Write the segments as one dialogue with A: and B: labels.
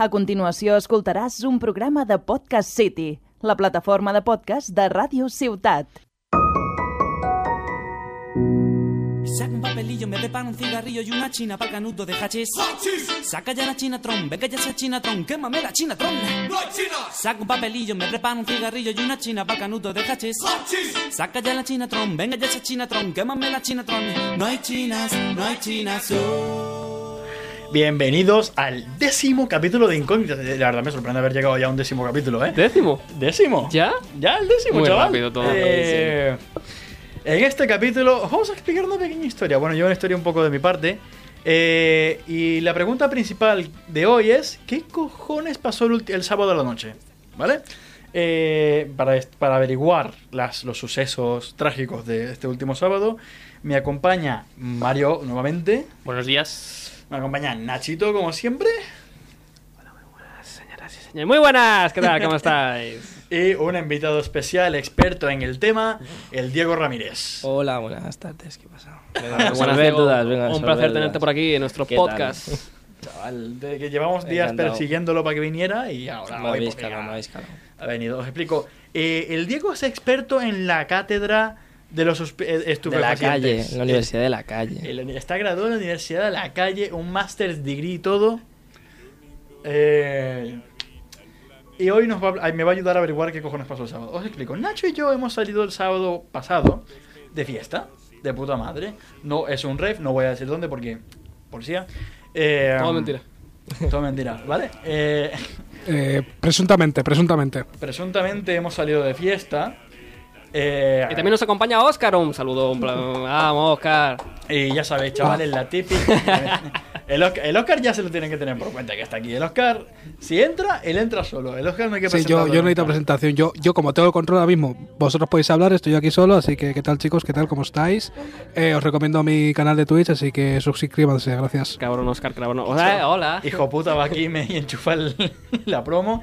A: A continuació escoltaràs un programa de Podcast City, la plataforma de podcast de Ràdio Ciutat.
B: Saca un papelillo, me prepara un cigarrillo y una china para canuto de hachís. Saca ya la chinatron, ve que ya sea chinatron, quémame la chinatron.
C: ¡No hay chinas!
B: Saca un papelillo, me prepara un cigarrillo y una china para canuto de hachís. Saca ya la chinatron, venga ya esa chinatron, quémame la chinatron. No hay chinas, no hay chinas. oh.
D: Bienvenidos al décimo capítulo de Incógnitas. Eh, La verdad me sorprende haber llegado ya a un décimo capítulo, ¿eh?
E: Décimo.
D: ¿Décimo?
E: ¿Ya?
D: Ya el décimo,
E: Muy
D: chaval.
E: rápido todo.
D: Eh, En este capítulo os vamos a explicar una pequeña historia. Bueno, yo una historia un poco de mi parte. Eh, y la pregunta principal de hoy es: ¿Qué cojones pasó el, ulti- el sábado a la noche? ¿Vale? Eh, para, est- para averiguar las, los sucesos trágicos de este último sábado, me acompaña Mario nuevamente.
E: Buenos días.
D: Me acompaña Nachito, como siempre.
E: señor. Eh, Muy buenas, ¿qué tal? ¿Cómo estáis?
D: Y un invitado especial, experto en el tema, el Diego Ramírez.
F: Hola, buenas tardes, ¿qué pasa?
E: Buenas,
F: Resolver
E: Diego.
F: dudas, venga,
E: Un
F: resolver
E: placer
F: dudas.
E: tenerte por aquí en nuestro
F: ¿Qué tal?
E: podcast.
D: Chaval, de que llevamos días
F: Encantado.
D: persiguiéndolo para que viniera y ahora
F: Me
D: hoy,
F: habéis
D: pues, mira,
F: calado, me habéis calado.
D: ha venido. Os explico. Eh, el Diego es experto en la cátedra de los suspe- eh,
F: De la
D: estupefacientes.
F: calle, la
D: Es-
F: universidad de la calle.
D: el- está graduado en la Universidad de la Calle, un master's degree y todo. Eh, y hoy nos va a- ay, me va a ayudar a averiguar qué cojones pasó el sábado. Os explico. Nacho y yo hemos salido el sábado pasado de fiesta, de puta madre. No es un rave, no voy a decir dónde porque policía. Eh,
E: Todo mentira.
D: Todo mentira, ¿vale? Eh,
G: Eh, presuntamente, presuntamente.
D: presuntamente hemos salido de fiesta. eh,
E: Y también nos acompaña Oscar. Un saludo. Un plan. Vamos, Oscar.
D: Y ya sabéis, chavales, la típica. El Oscar, el Oscar ya se lo tienen que tener por cuenta que está aquí. El Oscar, si entra, él entra solo. El Oscar no hay que
G: Sí, yo,
D: presentarlo
G: yo no necesito
D: nunca.
G: presentación. Yo, yo como tengo el control ahora mismo, vosotros podéis hablar, estoy yo aquí solo, así que ¿qué tal chicos? ¿Qué tal? ¿Cómo estáis? Eh, os recomiendo mi canal de Twitch, así que suscríbanse, gracias.
E: Cabrón, Oscar, cabrón. Hola, hola.
D: Hijo puta, va aquí y me enchufa el- la promo.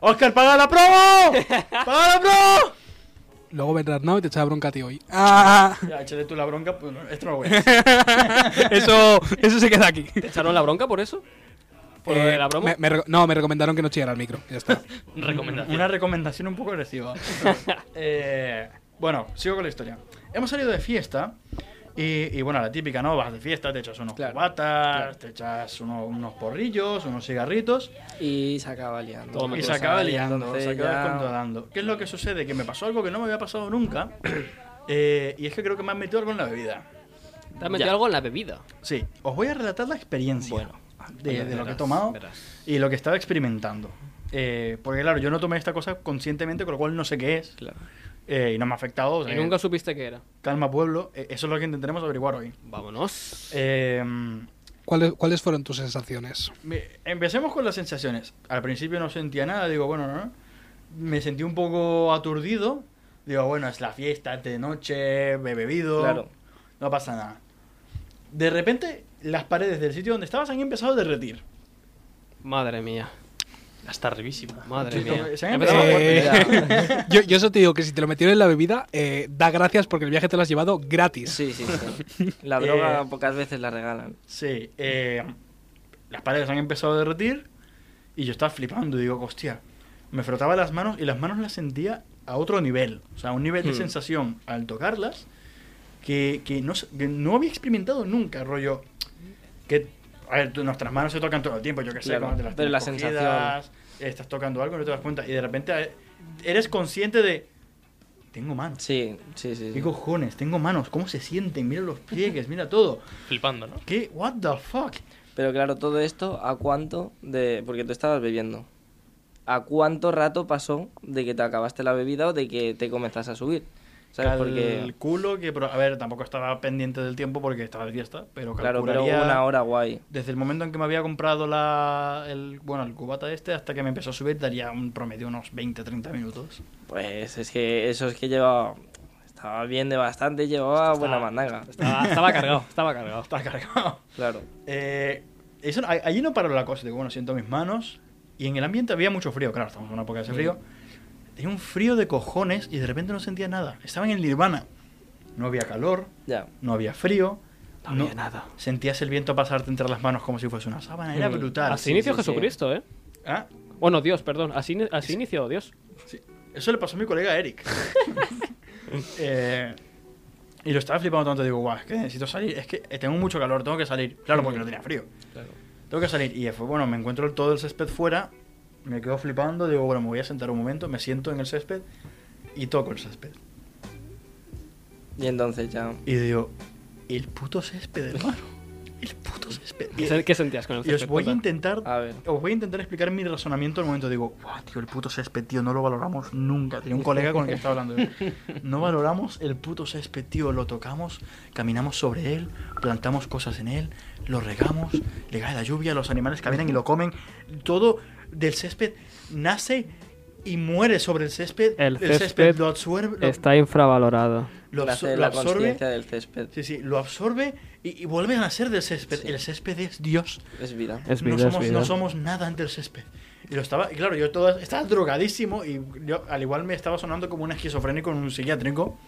D: ¡Oscar, paga la promo! ¡Paga la promo!
G: Luego vendrás Now y te echará bronca a ti hoy. ¡Ah!
D: Ya, échale tú la bronca. pues, no, Esto no lo voy a decir.
G: Eso, eso se queda aquí.
E: ¿Te echaron la bronca por eso? ¿Por
G: Eh,
E: la broma?
G: me- me reco- no, me recomendaron que no chillara el micro. Ya está.
E: Recomendación.
D: Una recomendación un poco agresiva. Eh, bueno, sigo con la historia. Hemos salido de fiesta. Y, y bueno, la típica, ¿no? Vas de fiesta, te echas unos
F: Claro,
D: cubatas, te echas uno- unos porrillos, unos cigarritos.
F: Y se acaba liando.
E: Todo
D: Y
E: metido.
D: se acaba liando,
F: Entonces
D: se acaba
F: ya-
D: descontrolando. ¿Qué es lo que sucede? Que me pasó algo que no me había pasado nunca. eh, y es que creo que me han metido algo en la bebida.
E: Te has metido
D: Ya.
E: algo en la bebida.
D: Sí, os voy a relatar la experiencia de, de lo que he
F: verás,
D: tomado
F: verás.
D: y lo que estaba experimentando. Eh, porque claro, yo no tomé esta cosa conscientemente, con lo cual no sé qué es.
F: Claro.
D: eh, y no me ha afectado. o sea, eh,
E: Y nunca supiste qué era.
D: Calma pueblo, Eh, eso es lo que intentaremos averiguar hoy.
E: Vámonos.
D: Eh,
G: ¿Cuáles, ¿Cuáles fueron tus sensaciones?
D: Me- Empecemos con las sensaciones. Al principio no sentía nada, digo, bueno, no. Me sentí un poco aturdido. Digo, bueno, es la fiesta, es de noche, me he bebido.
F: Claro.
D: No pasa nada. De repente, las paredes del sitio donde estabas han empezado a derretir.
E: Madre mía.
F: Está revísima.
E: Madre
D: Sí,
E: mía.
D: se han
E: Empezamos
D: empezado-
E: fuerte.
G: Eh, yo, yo eso te digo que si te lo metieron en la bebida, eh, da gracias porque el viaje te lo has llevado gratis.
F: Sí, sí, sí. La
D: Eh.
F: droga pocas veces la regalan.
D: Sí, eh, las paredes han empezado a derretir y yo estaba flipando. Digo, hostia, me frotaba las manos y las manos las sentía a otro nivel. O sea, un nivel de
E: Hmm.
D: sensación al tocarlas que, que no, sé- que no había experimentado nunca, rollo. Que, a ver, tú- nuestras manos se tocan todo el tiempo, yo qué sé,
F: Claro,
D: cuando te las
F: pero la
D: tienes
F: sensación.
D: cogidas, estás tocando algo y no te das cuenta. Y de repente eh, eres consciente de. Tengo manos.
F: Sí, sí, sí. sí.
D: ¿Qué cojones? Tengo manos. ¿Cómo se sienten? Mira los pliegues, mira todo.
E: Flipando, ¿no?
D: ¿Qué? ¿What the fuck?
F: Pero claro, todo esto, ¿a cuánto de...? Porque tú estabas bebiendo. ¿A cuánto rato pasó de que te acabaste la bebida o de que te comenzas a subir? ¿Sabes? Porque...
D: Calculo que, pro- a ver, tampoco estaba pendiente del tiempo porque estaba de fiesta, pero
F: Claro,
D: calcularía
F: pero una hora guay.
D: desde el momento en que me había comprado la, el, bueno, el cubata este hasta que me empezó a subir daría un promedio unos 20-30 minutos.
F: Pues es que eso es que llevaba. Estaba bien de bastante, llevaba buena mandanga.
E: Estaba, estaba cargado, estaba cargado.
D: Está cargado.
F: Claro.
D: Eh, eso, a- allí no paró la cosa, digo, bueno, siento mis manos y en el ambiente había mucho frío, claro, estamos en una época de frío. Tenía un frío de cojones y de repente no sentía nada. Estaba en el nirvana. No había calor,
F: Ya.
D: no había frío. No había nada. Mm. Sentías el viento pasarte entre las manos como si fuese una sábana. Era brutal.
E: Así inició
F: sí, sí.
E: Jesucristo, ¿eh?
D: Ah,
E: Bueno, Dios, perdón. Así, ni- así inició Dios.
D: sí. Eso le pasó a mi colega Eric. Eh, y lo estaba flipando tanto. Digo, guau, es que necesito salir. Es que eh, tengo mucho calor, tengo que salir. Claro, porque no tenía frío. Tengo que salir. Y fue, bueno, me encuentro todo el césped fuera. Me quedo flipando. Digo, bueno, me voy a sentar un momento. Me siento en el césped y toco el césped.
F: Y entonces ya.
D: Y digo, el puto césped, hermano. El puto césped. Y-
E: ¿Qué sentías con el
D: Y os
E: césped?
D: voy a
E: Cuenta.
D: intentar.
F: A ver.
D: Os voy a intentar explicar mi razonamiento al momento. Digo, guau, tío, el puto césped, tío, no lo valoramos nunca. Tenía un colega con el que estaba hablando. No valoramos el puto césped, tío. Lo tocamos, caminamos sobre él, plantamos cosas en él, lo regamos, le cae la lluvia, los animales caminan y lo comen. Todo del césped nace y muere sobre el césped.
C: El césped
D: lo absorbe. lo-
C: Está infravalorado.
D: lo absor-
F: nace
D: lo
F: la
D: absorbe.
F: conciencia del césped.
D: Sí, sí, lo absorbe y, y vuelve a nacer del césped.
F: Sí.
D: El césped es Dios.
F: Es vida.
C: Es vida,
D: no, somos,
C: es vida.
D: no somos nada ante el césped. Y lo estaba, y claro, yo todo, estaba drogadísimo y yo al igual me estaba sonando como un esquizofrénico en un psiquiátrico,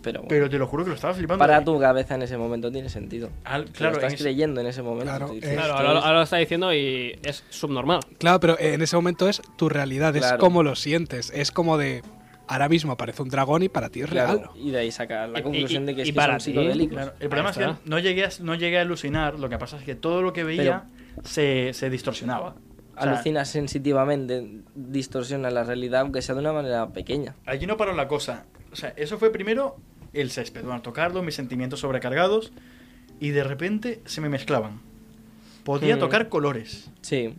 F: Pero bueno.
D: pero te lo juro que lo estaba flipando.
F: para
D: Y-
F: tu cabeza en ese momento tiene sentido.
D: al-
F: Claro,
D: claro,
F: estás
D: en ese-
F: creyendo en ese momento.
G: Claro,
F: tú
G: eh,
F: dices,
E: Claro,
F: "Esto
E: ahora,
F: es-
E: ahora lo está diciendo y es subnormal.
G: Claro, pero eh, en ese momento es tu realidad, es
F: Claro.
G: como lo sientes, es como de ahora mismo aparece un dragón y para ti es
F: Claro,
G: real.
F: y de ahí sacar
E: Y-
F: la
E: y-
F: conclusión de que
E: y
F: es que
E: para
F: son
E: ti,
F: psicodélicos.
D: claro, el problema es que
E: está.
D: no llegué, a, no llegué a alucinar, lo que pasa es que todo lo que veía se, se distorsionaba. O sea,
F: Alucinas sensitivamente, distorsionas la realidad, aunque sea de una manera pequeña.
D: Allí no paró la cosa. O sea, eso fue primero el césped, bueno, tocarlo, mis sentimientos sobrecargados, y de repente se me mezclaban. Podía
E: Mm.
D: tocar colores,
F: Sí, eh,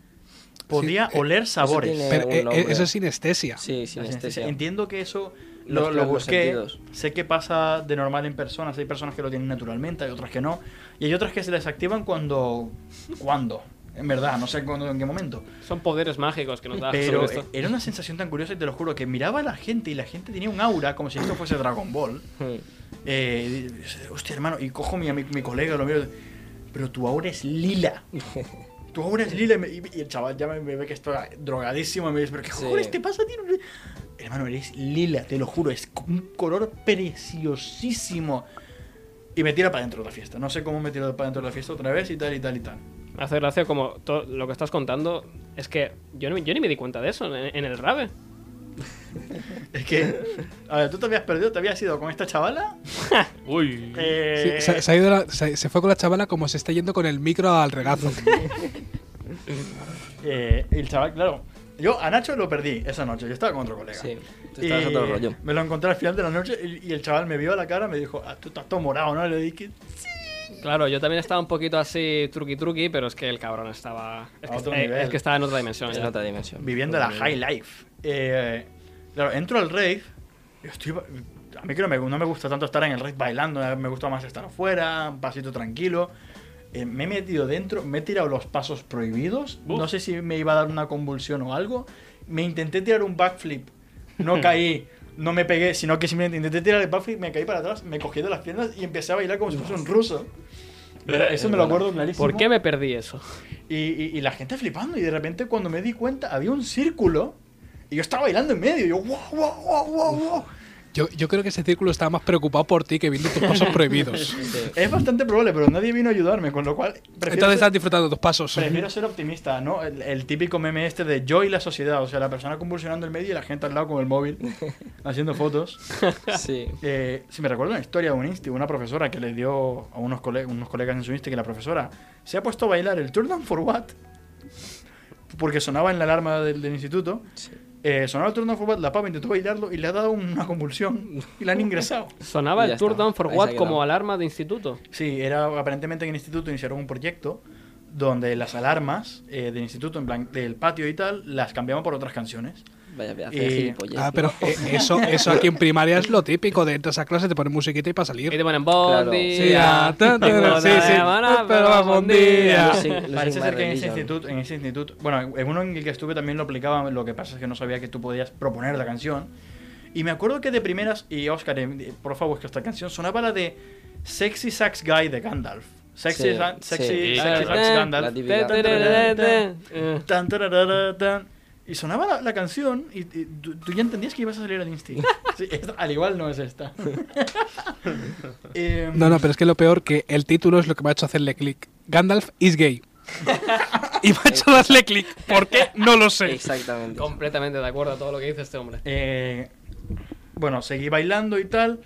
D: podía oler sabores.
F: tiene-
G: Pero
F: un
G: eh, eh,
F: nombre.
G: eso es sinestesia.
F: sí,
D: La sinestesia.
F: sinestesia.
D: Entiendo que eso lo,
F: Mezclar
D: lo
F: los
D: busqué.
F: sentidos.
D: Sé que pasa de normal en personas. Hay personas que lo tienen naturalmente, hay otras que no. Y hay otras que se les activan cuando. cuando. En verdad, no sé cuándo, en qué momento.
E: Son poderes mágicos que nos da
D: Pero eh,
E: Jesucristo.
D: era una sensación tan curiosa y te lo juro que miraba a la gente y la gente tenía un aura como si esto fuese Dragon Ball.
F: Mm.
D: Eh, y dice, hostia, hermano, y cojo mi, mi, mi colega, lo miro, pero tu aura es lila. Tu aura es lila. Y, me- y- y el chaval ya me, me ve que estoy drogadísimo y me dice, pero ¿qué
F: Sí.
D: cojones te pasa, tío? Hermano, eres lila, te lo juro, es un color preciosísimo. Y me tira para dentro de la fiesta. No sé cómo me tira para dentro de la fiesta otra vez y tal y tal y tal.
E: Me hace gracia como todo lo que estás contando es que yo, no- yo ni me di cuenta de eso en, en el rave.
D: Es que, a ver, tú te habías perdido, te habías ido con esta chavala.
E: Uy.
G: Sí,
D: Eh,
G: se, se ha ido la- se- se fue con la chavala como se está yendo con el micro al regazo.
D: eh, y el chaval, claro. Yo a Nacho lo perdí esa noche, yo estaba con otro colega.
F: Sí, tú estabas
D: Y
F: otro rollo.
D: Me lo encontré al final de la noche y, y el chaval me vio a la cara me dijo, ah, tú estás todo morado, ¿no? Y le dije,
E: Claro, yo también estaba un poquito así truqui truqui, pero es que el cabrón estaba. Es que,
D: A otro
E: eh,
D: nivel.
E: es que estaba en otra dimensión.
F: Es
E: ya.
F: en otra dimensión.
D: viviendo la high life. Eh, claro, entro al rave, yo estoy... ba- A mí que no me, no me gusta tanto estar en el rave bailando, eh, me gusta más estar afuera, un pasito tranquilo. Eh, me he metido dentro, me he tirado los pasos prohibidos,
E: Uf.
D: no sé si me iba a dar una convulsión o algo. Me intenté tirar un backflip, no caí. No me pegué, sino que simplemente intenté tirar el backflip, me caí para atrás, me cogí de las piernas y empecé a bailar como si fuese un ruso. Eso me lo acuerdo clarísimo.
E: ¿Por qué me perdí eso?
D: Y, y- y la gente flipando. Y de repente, cuando me di cuenta, había un círculo. Y yo estaba bailando en medio. Y yo, wow, wow, wow, wow, wow.
G: Yo, yo creo que ese círculo estaba más preocupado por ti que viendo tus pasos prohibidos.
D: Es bastante probable, pero nadie vino a ayudarme. Con lo cual, prefiero,
G: Entonces
D: ser,
G: estás disfrutando tus pasos.
D: prefiero ser optimista, ¿no? El, el típico meme este de yo y la sociedad. O sea, la persona convulsionando en medio y la gente al lado con el móvil haciendo fotos.
F: Sí,
D: Eh, si me recuerdo una historia de un insti, una profesora que le dio a unos, cole- unos colegas en su insti que la profesora se ha puesto a bailar el Turn Down for What porque sonaba en la alarma del, del instituto. Eh, sonaba el Turn Down for What, la pava intentó bailarlo y le ha dado una convulsión y la han ingresado.
E: Sonaba
F: Y ya
E: el Tour
F: está.
E: Down for
F: Ahí se ha
E: What
F: quedado.
E: como alarma de instituto.
D: Sí, era aparentemente en el instituto iniciaron un proyecto donde las alarmas eh, del instituto, en plan, del patio y tal, las cambiaban por otras canciones.
F: vaya pedazo
D: Y-
F: de gilipollez.
G: Ah, pero eh, eso, eso aquí en primaria es lo típico de entras a clase, te ponen musiquita y para salir.
E: Y te ponen bon
F: Claro.
G: Sí,
E: día.
G: ah, ta, ta, ta, sí, sí, pero vamos un día.
F: Los in- los
D: Parece ser
F: Igmar
D: que en ese,
F: Religion.
D: instituto, en ese instituto, bueno, en uno en el que estuve también lo aplicaban, lo que pasa es que no sabía que tú podías proponer la canción. Y me acuerdo que de primeras, y Oscar, eh, por favor, que esta canción sonaba la de Sexy Sax Guy de Gandalf. Sexy,
F: Sí,
D: Sa- sexy,
F: sí.
D: sexy
E: Claro.
D: Sax
E: La
D: Gandalf.
F: típica.
D: Tan, tararara, tan. Y sonaba la, la canción y, y tú, tú ya entendías que ibas a salir al Insti. Sí, es- al igual no es esta. Em,
G: No, no, pero es que lo peor que el título es lo que me ha hecho hacerle clic. Gandalf is gay. y me ha hecho darle clic. ¿Por qué? No lo sé.
F: Exactamente.
E: Eh, Completamente de acuerdo a todo lo que dice este hombre.
D: eh, bueno, seguí bailando y tal.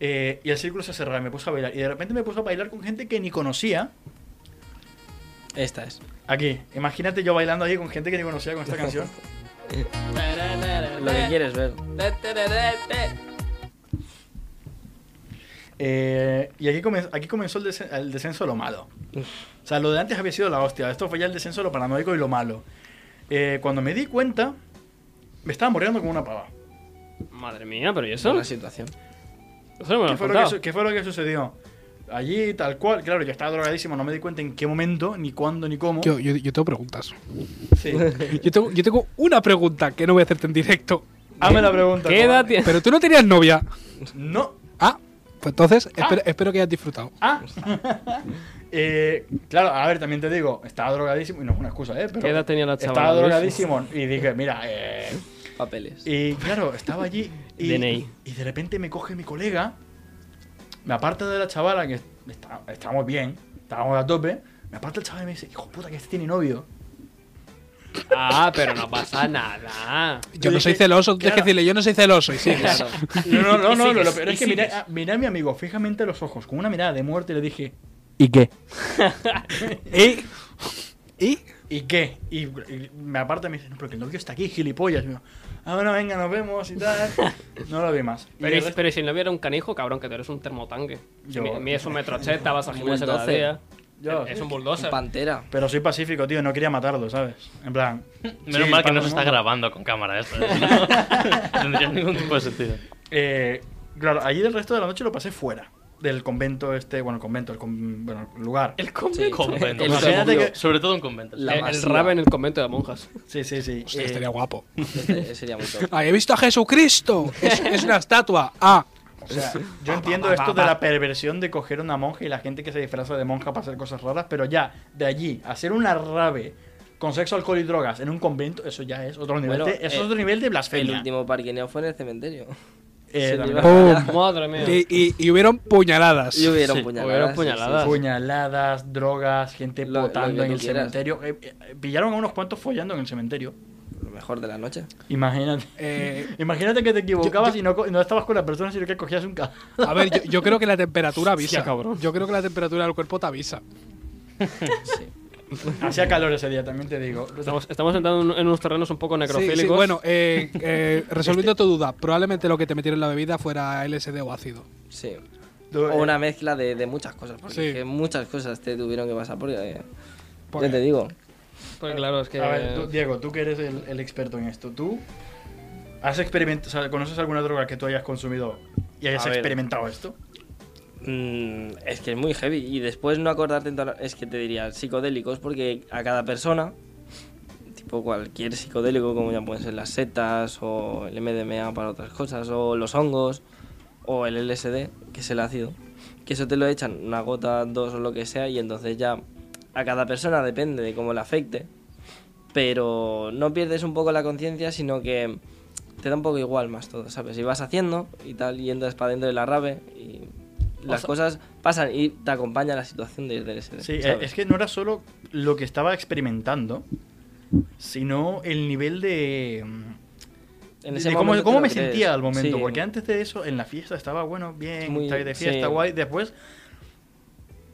D: eh, y el círculo se cerraba, y me puso a bailar. Y de repente me puso a bailar con gente que ni conocía.
F: Esta es.
D: Aquí, imagínate yo bailando ahí con gente que ni conocía con esta canción.
F: Lo que quieres ver.
D: Eh, y aquí, comen- aquí comenzó el, desen- el descenso a lo malo. O sea, lo de antes había sido la hostia. Esto fue ya el descenso a lo paranoico y lo malo. Eh, cuando me di cuenta, me estaba muriendo como una pava.
E: Madre mía, pero ¿y eso?
F: Una situación.
E: Eso no me lo
D: ¿Qué
E: has
D: fue, lo que,
E: Ah, contado.
D: su- qué fue lo que sucedió? Allí, tal cual. Claro, yo estaba drogadísimo, no me di cuenta en qué momento, ni cuándo, ni cómo.
G: Yo, yo, yo tengo preguntas.
D: Sí.
G: Yo tengo, yo tengo una pregunta que no voy a hacerte en directo.
D: Hazme la pregunta.
E: ¿Qué
D: chaval.
E: edad tiene?
G: Pero tú no tenías novia.
D: No.
G: Ah, pues entonces espero, espero que hayas disfrutado.
D: Ah. Eh, claro, a ver, también te digo, estaba drogadísimo. Y no es una excusa, ¿eh? Pero
E: ¿Qué edad tenía la
D: Estaba
E: chavala, Luis?
D: drogadísimo. Y dije, mira, eh,
F: Papeles.
D: Y claro, estaba allí y,
E: DNI.
D: y de repente me coge mi colega, me aparta de la chavala, que está- estábamos bien, estábamos a tope, me aparta el chaval y me dice, hijo puta, que este tiene novio.
E: Ah, pero no pasa nada.
G: Yo
D: Y
G: no
D: dije,
G: soy celoso, tú tienes que
D: claro.
G: decirle, yo no soy celoso. Y sí,
F: Claro.
D: No, no, no,
E: Y
D: no,
E: sigues,
D: lo peor
E: y
D: es que
E: sigues.
D: miré, a- miré a mi amigo fijamente a los ojos, con una mirada de muerte y le dije,
G: ¿Y? ¿Y?
D: ¿y qué? Y, y me aparta y me dice, no, pero que el novio está aquí, gilipollas. Y yo, ah, bueno, venga, nos vemos y tal. No lo vi más. Y
E: Pero,
D: el
E: y-
D: resto-
E: pero si no hubiera un canijo, cabrón, que tú eres un termotanque.
D: Yo-
E: Mi- Mides un metro ochenta, vas a gimnasio cada
F: bulldozer.
E: día.
D: yo-
E: es un
F: Un
E: bulldozer.
F: Pantera.
D: pero soy pacífico, tío, no quería matarlo, ¿sabes? En plan...
H: Menos
D: sí,
H: mal que
D: para
H: no
D: el
H: se está
D: mundo.
H: grabando con cámara esto. ¿eh? No, tendría ningún tipo de sentido.
D: Eh, claro, allí el resto de la noche lo pasé fuera del convento este, bueno, el convento, el, con- bueno, el lugar.
E: El
H: Convento.
F: El
D: Imagínate
F: convento.
D: que-
H: Sobre todo un convento.
F: La
E: el, el
F: masiva.
E: rave en el convento de monjas.
D: Sí, sí, sí.
G: Hostia,
D: Eh,
G: estaría guapo.
F: Este sería muy top.
G: Ah, he visto a Jesucristo. Es, es una estatua. Ah,
D: o sea,
F: Ah,
D: yo entiendo esto de la perversión de coger una monja y la gente que se disfraza de monja para hacer cosas raras, pero ya, de allí, hacer una rave con sexo, alcohol y drogas en un convento, eso ya es otro nivel,
F: Bueno,
D: de, eso
F: eh,
D: es otro nivel de
F: El
D: blasfemia.
F: último parquineo fue en el cementerio.
D: Eh,
F: Sí,
D: la
F: iba-
D: verdad,
E: Oh.
G: ¡pum!
E: Madre mía.
G: Y, y- y hubieron puñaladas.
F: Y hubieron
H: Sí,
F: puñaladas.
E: hubieron
F: sí,
E: puñaladas.
D: puñaladas, drogas, gente
F: Lo- lo que
D: potando en
F: tú
D: el
F: quieras.
D: cementerio. Eh, eh, pillaron a unos cuantos follando en el cementerio.
F: sí. Lo mejor de la noche.
D: Imagínate.
G: Eh,
D: Imagínate que te equivocabas y no, co- no estabas con la persona, sino que cogías un ca...
G: a ver, yo, yo creo que la temperatura avisa.
E: Hostia, cabrón.
G: Yo creo que la temperatura del cuerpo te avisa.
D: Hacía calor ese día, también te digo.
E: Estamos, estamos entrando en- en unos terrenos un poco
G: Sí,
E: necrofílicos.
G: sí, bueno, eh, eh, resolviendo tu duda, probablemente lo que te metieron en la bebida fuera LSD o ácido.
F: Sí.
D: Tú,
F: O
D: eh,
F: una mezcla de, de muchas cosas. Porque
G: Sí.
F: es que muchas cosas te tuvieron que pasar. Porque, eh,
G: Porque-
F: ya te digo.
E: Pues claro, es que.
D: A ver, tú- Diego, tú que eres el, el experto en esto, ¿tú has experimentado, o sea, conoces alguna droga que tú hayas consumido y hayas
F: A ver.
D: experimentado esto?
F: Mm, es que es muy heavy. Y después no acordarte en toda la- Es que te diría psicodélicos porque a cada persona, tipo cualquier psicodélico, como ya pueden ser las setas o el MDMA para otras cosas, o los hongos, o el LSD, que es el ácido, que eso te lo echan una gota, dos o lo que sea, y entonces ya a cada persona depende de cómo le afecte. Pero no pierdes un poco la conciencia, sino que te da un poco igual más todo, ¿sabes? Y vas haciendo y tal, y entras para dentro de la rave y las cosas pasan y te acompaña la situación de, del SD.
D: Sí, eh,
F: ¿sabes?
D: es que no era solo lo que estaba experimentando, sino el nivel de... mm,
F: En
D: de
F: ese
D: cómo,
F: momento te
D: cómo
F: lo
D: me
F: crees.
D: sentía al momento,
F: Sí.
D: porque antes de eso en la fiesta estaba bueno, bien,
F: Muy-
D: estaba de fiesta,
F: sí.
D: guay, después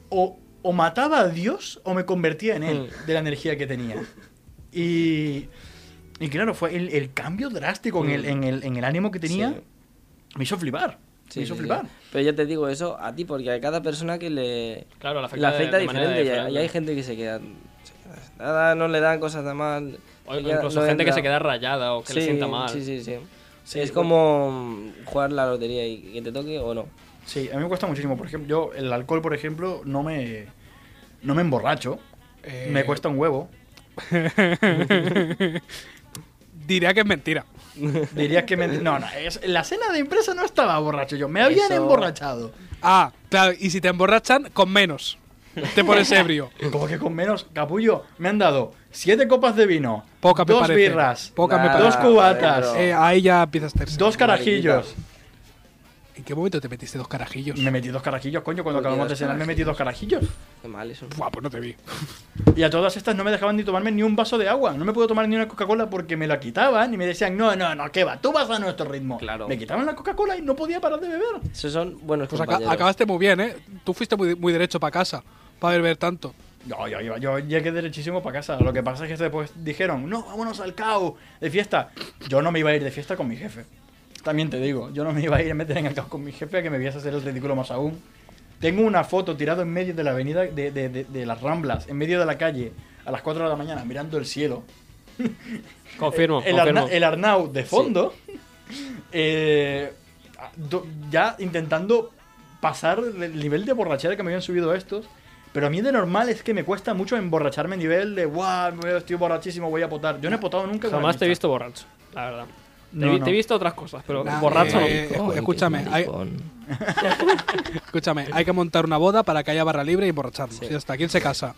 D: o, o mataba a Dios o me convertía en él,
F: Mm.
D: de la energía que tenía. Y, y claro, fue el, el cambio drástico en,
F: Mm.
D: el, en, el, en el ánimo que tenía, me hizo flipar,
F: Sí,
D: me hizo
F: sí, sí.
D: flipar.
F: Pero ya te digo eso a ti, porque a cada persona que le,
E: Claro, la afecta,
F: le
E: de-
F: afecta
E: de manera
F: diferente, y hay- y hay
E: diferente.
F: gente que se queda, se queda nada, no le dan cosas de mal.
E: O
F: se queda-
E: incluso
F: no
E: gente que
F: entra.
E: se queda rayada o que le
F: Sí,
E: sienta mal. pues.
F: Sí, sí, sí.
D: Sí,
F: es
D: bueno.
F: como mm, jugar la lotería y que te toque o no.
D: Sí, a mí me cuesta muchísimo, por ejemplo, yo el alcohol, por ejemplo, no me, no me emborracho,
G: Eh,
D: me cuesta un huevo.
G: Diría que es mentira.
D: Dirías que me... No, no, es- en la cena de empresa no estaba borracho yo, me habían
F: Eso-
D: emborrachado.
G: Ah, claro, y si te emborrachan, con menos. te pones ebrio.
D: ¿Cómo que con menos? Capullo, me han dado siete copas de vino,
G: Poca me
D: dos
G: parece.
D: birras,
G: Poca me
F: Nah,
D: dos
G: parece.
D: cubatas,
F: pero-
G: Eh, ahí ya empiezas tercio.
D: dos carajillos.
G: ¿En qué momento te metiste dos carajillos?
D: Me metí dos carajillos, coño, cuando
F: Porque
D: acabamos de
F: dos
D: cenar me metí dos carajillos.
F: Qué mal eso.
G: Buah, pues no te vi.
D: Y a todas estas no me dejaban ni tomarme ni un vaso de agua. No me puedo tomar ni una Coca-Cola porque me la quitaban y me decían, no, no, no, que va, tú vas a nuestro ritmo.
F: Claro.
D: Me quitaban la Coca-Cola y no podía parar de beber.
F: Esos son buenos
G: Pues aca-
F: compañeros.
G: acabaste muy bien, ¿eh? Tú fuiste muy, muy derecho para casa, para beber tanto.
D: No, yo, yo, yo llegué derechísimo para casa. Lo que pasa es que después dijeron, no, vámonos al CAO de fiesta. Yo no me iba a ir de fiesta con mi jefe. También te digo, yo no me iba a ir a meter en el CAO con mi jefe a que me viese hacer el ridículo más aún. Tengo una foto tirado en medio de la avenida de, de- de- de las Ramblas, en medio de la calle, a las 4 de la mañana, mirando el cielo.
E: Confirmo,
D: el,
E: confirmo.
D: Arna- el Arnau de fondo. eh, do- ya intentando pasar el nivel de borrachera que me habían subido estos. Pero a mí de normal es que me cuesta mucho emborracharme a nivel de guau, me- estoy borrachísimo, voy a potar. Yo no he potado nunca. con
E: Jamás
D: el
E: te he
D: Insta.
E: visto borracho, la verdad.
D: No,
E: te, vi-
D: no.
E: te he visto otras cosas, pero
G: Nah,
E: borracho no.
G: eh, escu- escúchame, hay,
F: Con-
G: escúchame, hay que montar una boda para que haya barra libre y emborracharnos. Y ya está. ¿Quién se casa?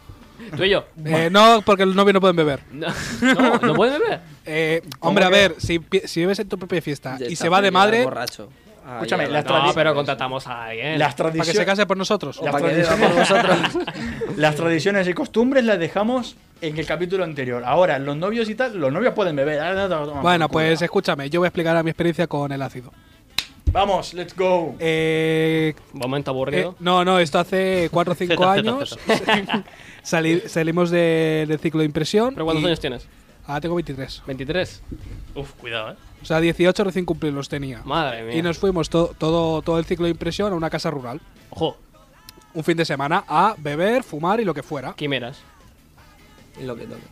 E: Tú y yo.
G: Eh, no, porque los novios no pueden beber.
E: No, no, no puedes beber.
G: Eh, hombre, a ver, si, pi- si bebes en tu propia fiesta y
F: Está
G: se va de
F: pillado
G: madre, para
F: Borracho. Ah,
D: Escúchame,
F: ya,
D: las
F: ya.
E: No,
D: tradiciones-
E: pero contratamos a alguien.
D: Las
G: que se
D: tradiciones.
G: case por nosotros.
D: Las
F: Pa' que beba
D: tradiciones-
F: por vosotros.
D: Las tradiciones y costumbres las dejamos en el capítulo anterior. Ahora, los novios y tal, los novios pueden beber. Ah, no, no, toma,
G: Bueno,
D: por culo.
G: pues escúchame, yo voy a explicar a mi experiencia con el ácido.
D: Vamos, let's go.
G: Eh,
E: Momento
G: Eh,
E: aburrido.
G: no, no, esto hace 4 o 5
H: Zeta, zeta,
G: años. Sali- salimos de- del ciclo de impresión.
E: ¿Pero cuántos
G: y-
E: años tienes?
G: Ah, tengo 23.
E: ¿23?
H: Uf, cuidado, eh.
G: O sea, 18 recién cumplidos tenía.
E: Madre mía.
G: Y nos fuimos to- todo, todo el ciclo de impresión a una casa rural.
E: Ojo,
G: Un fin de semana a beber, fumar y lo que fuera.
E: quimeras.
F: Y Lo que toque.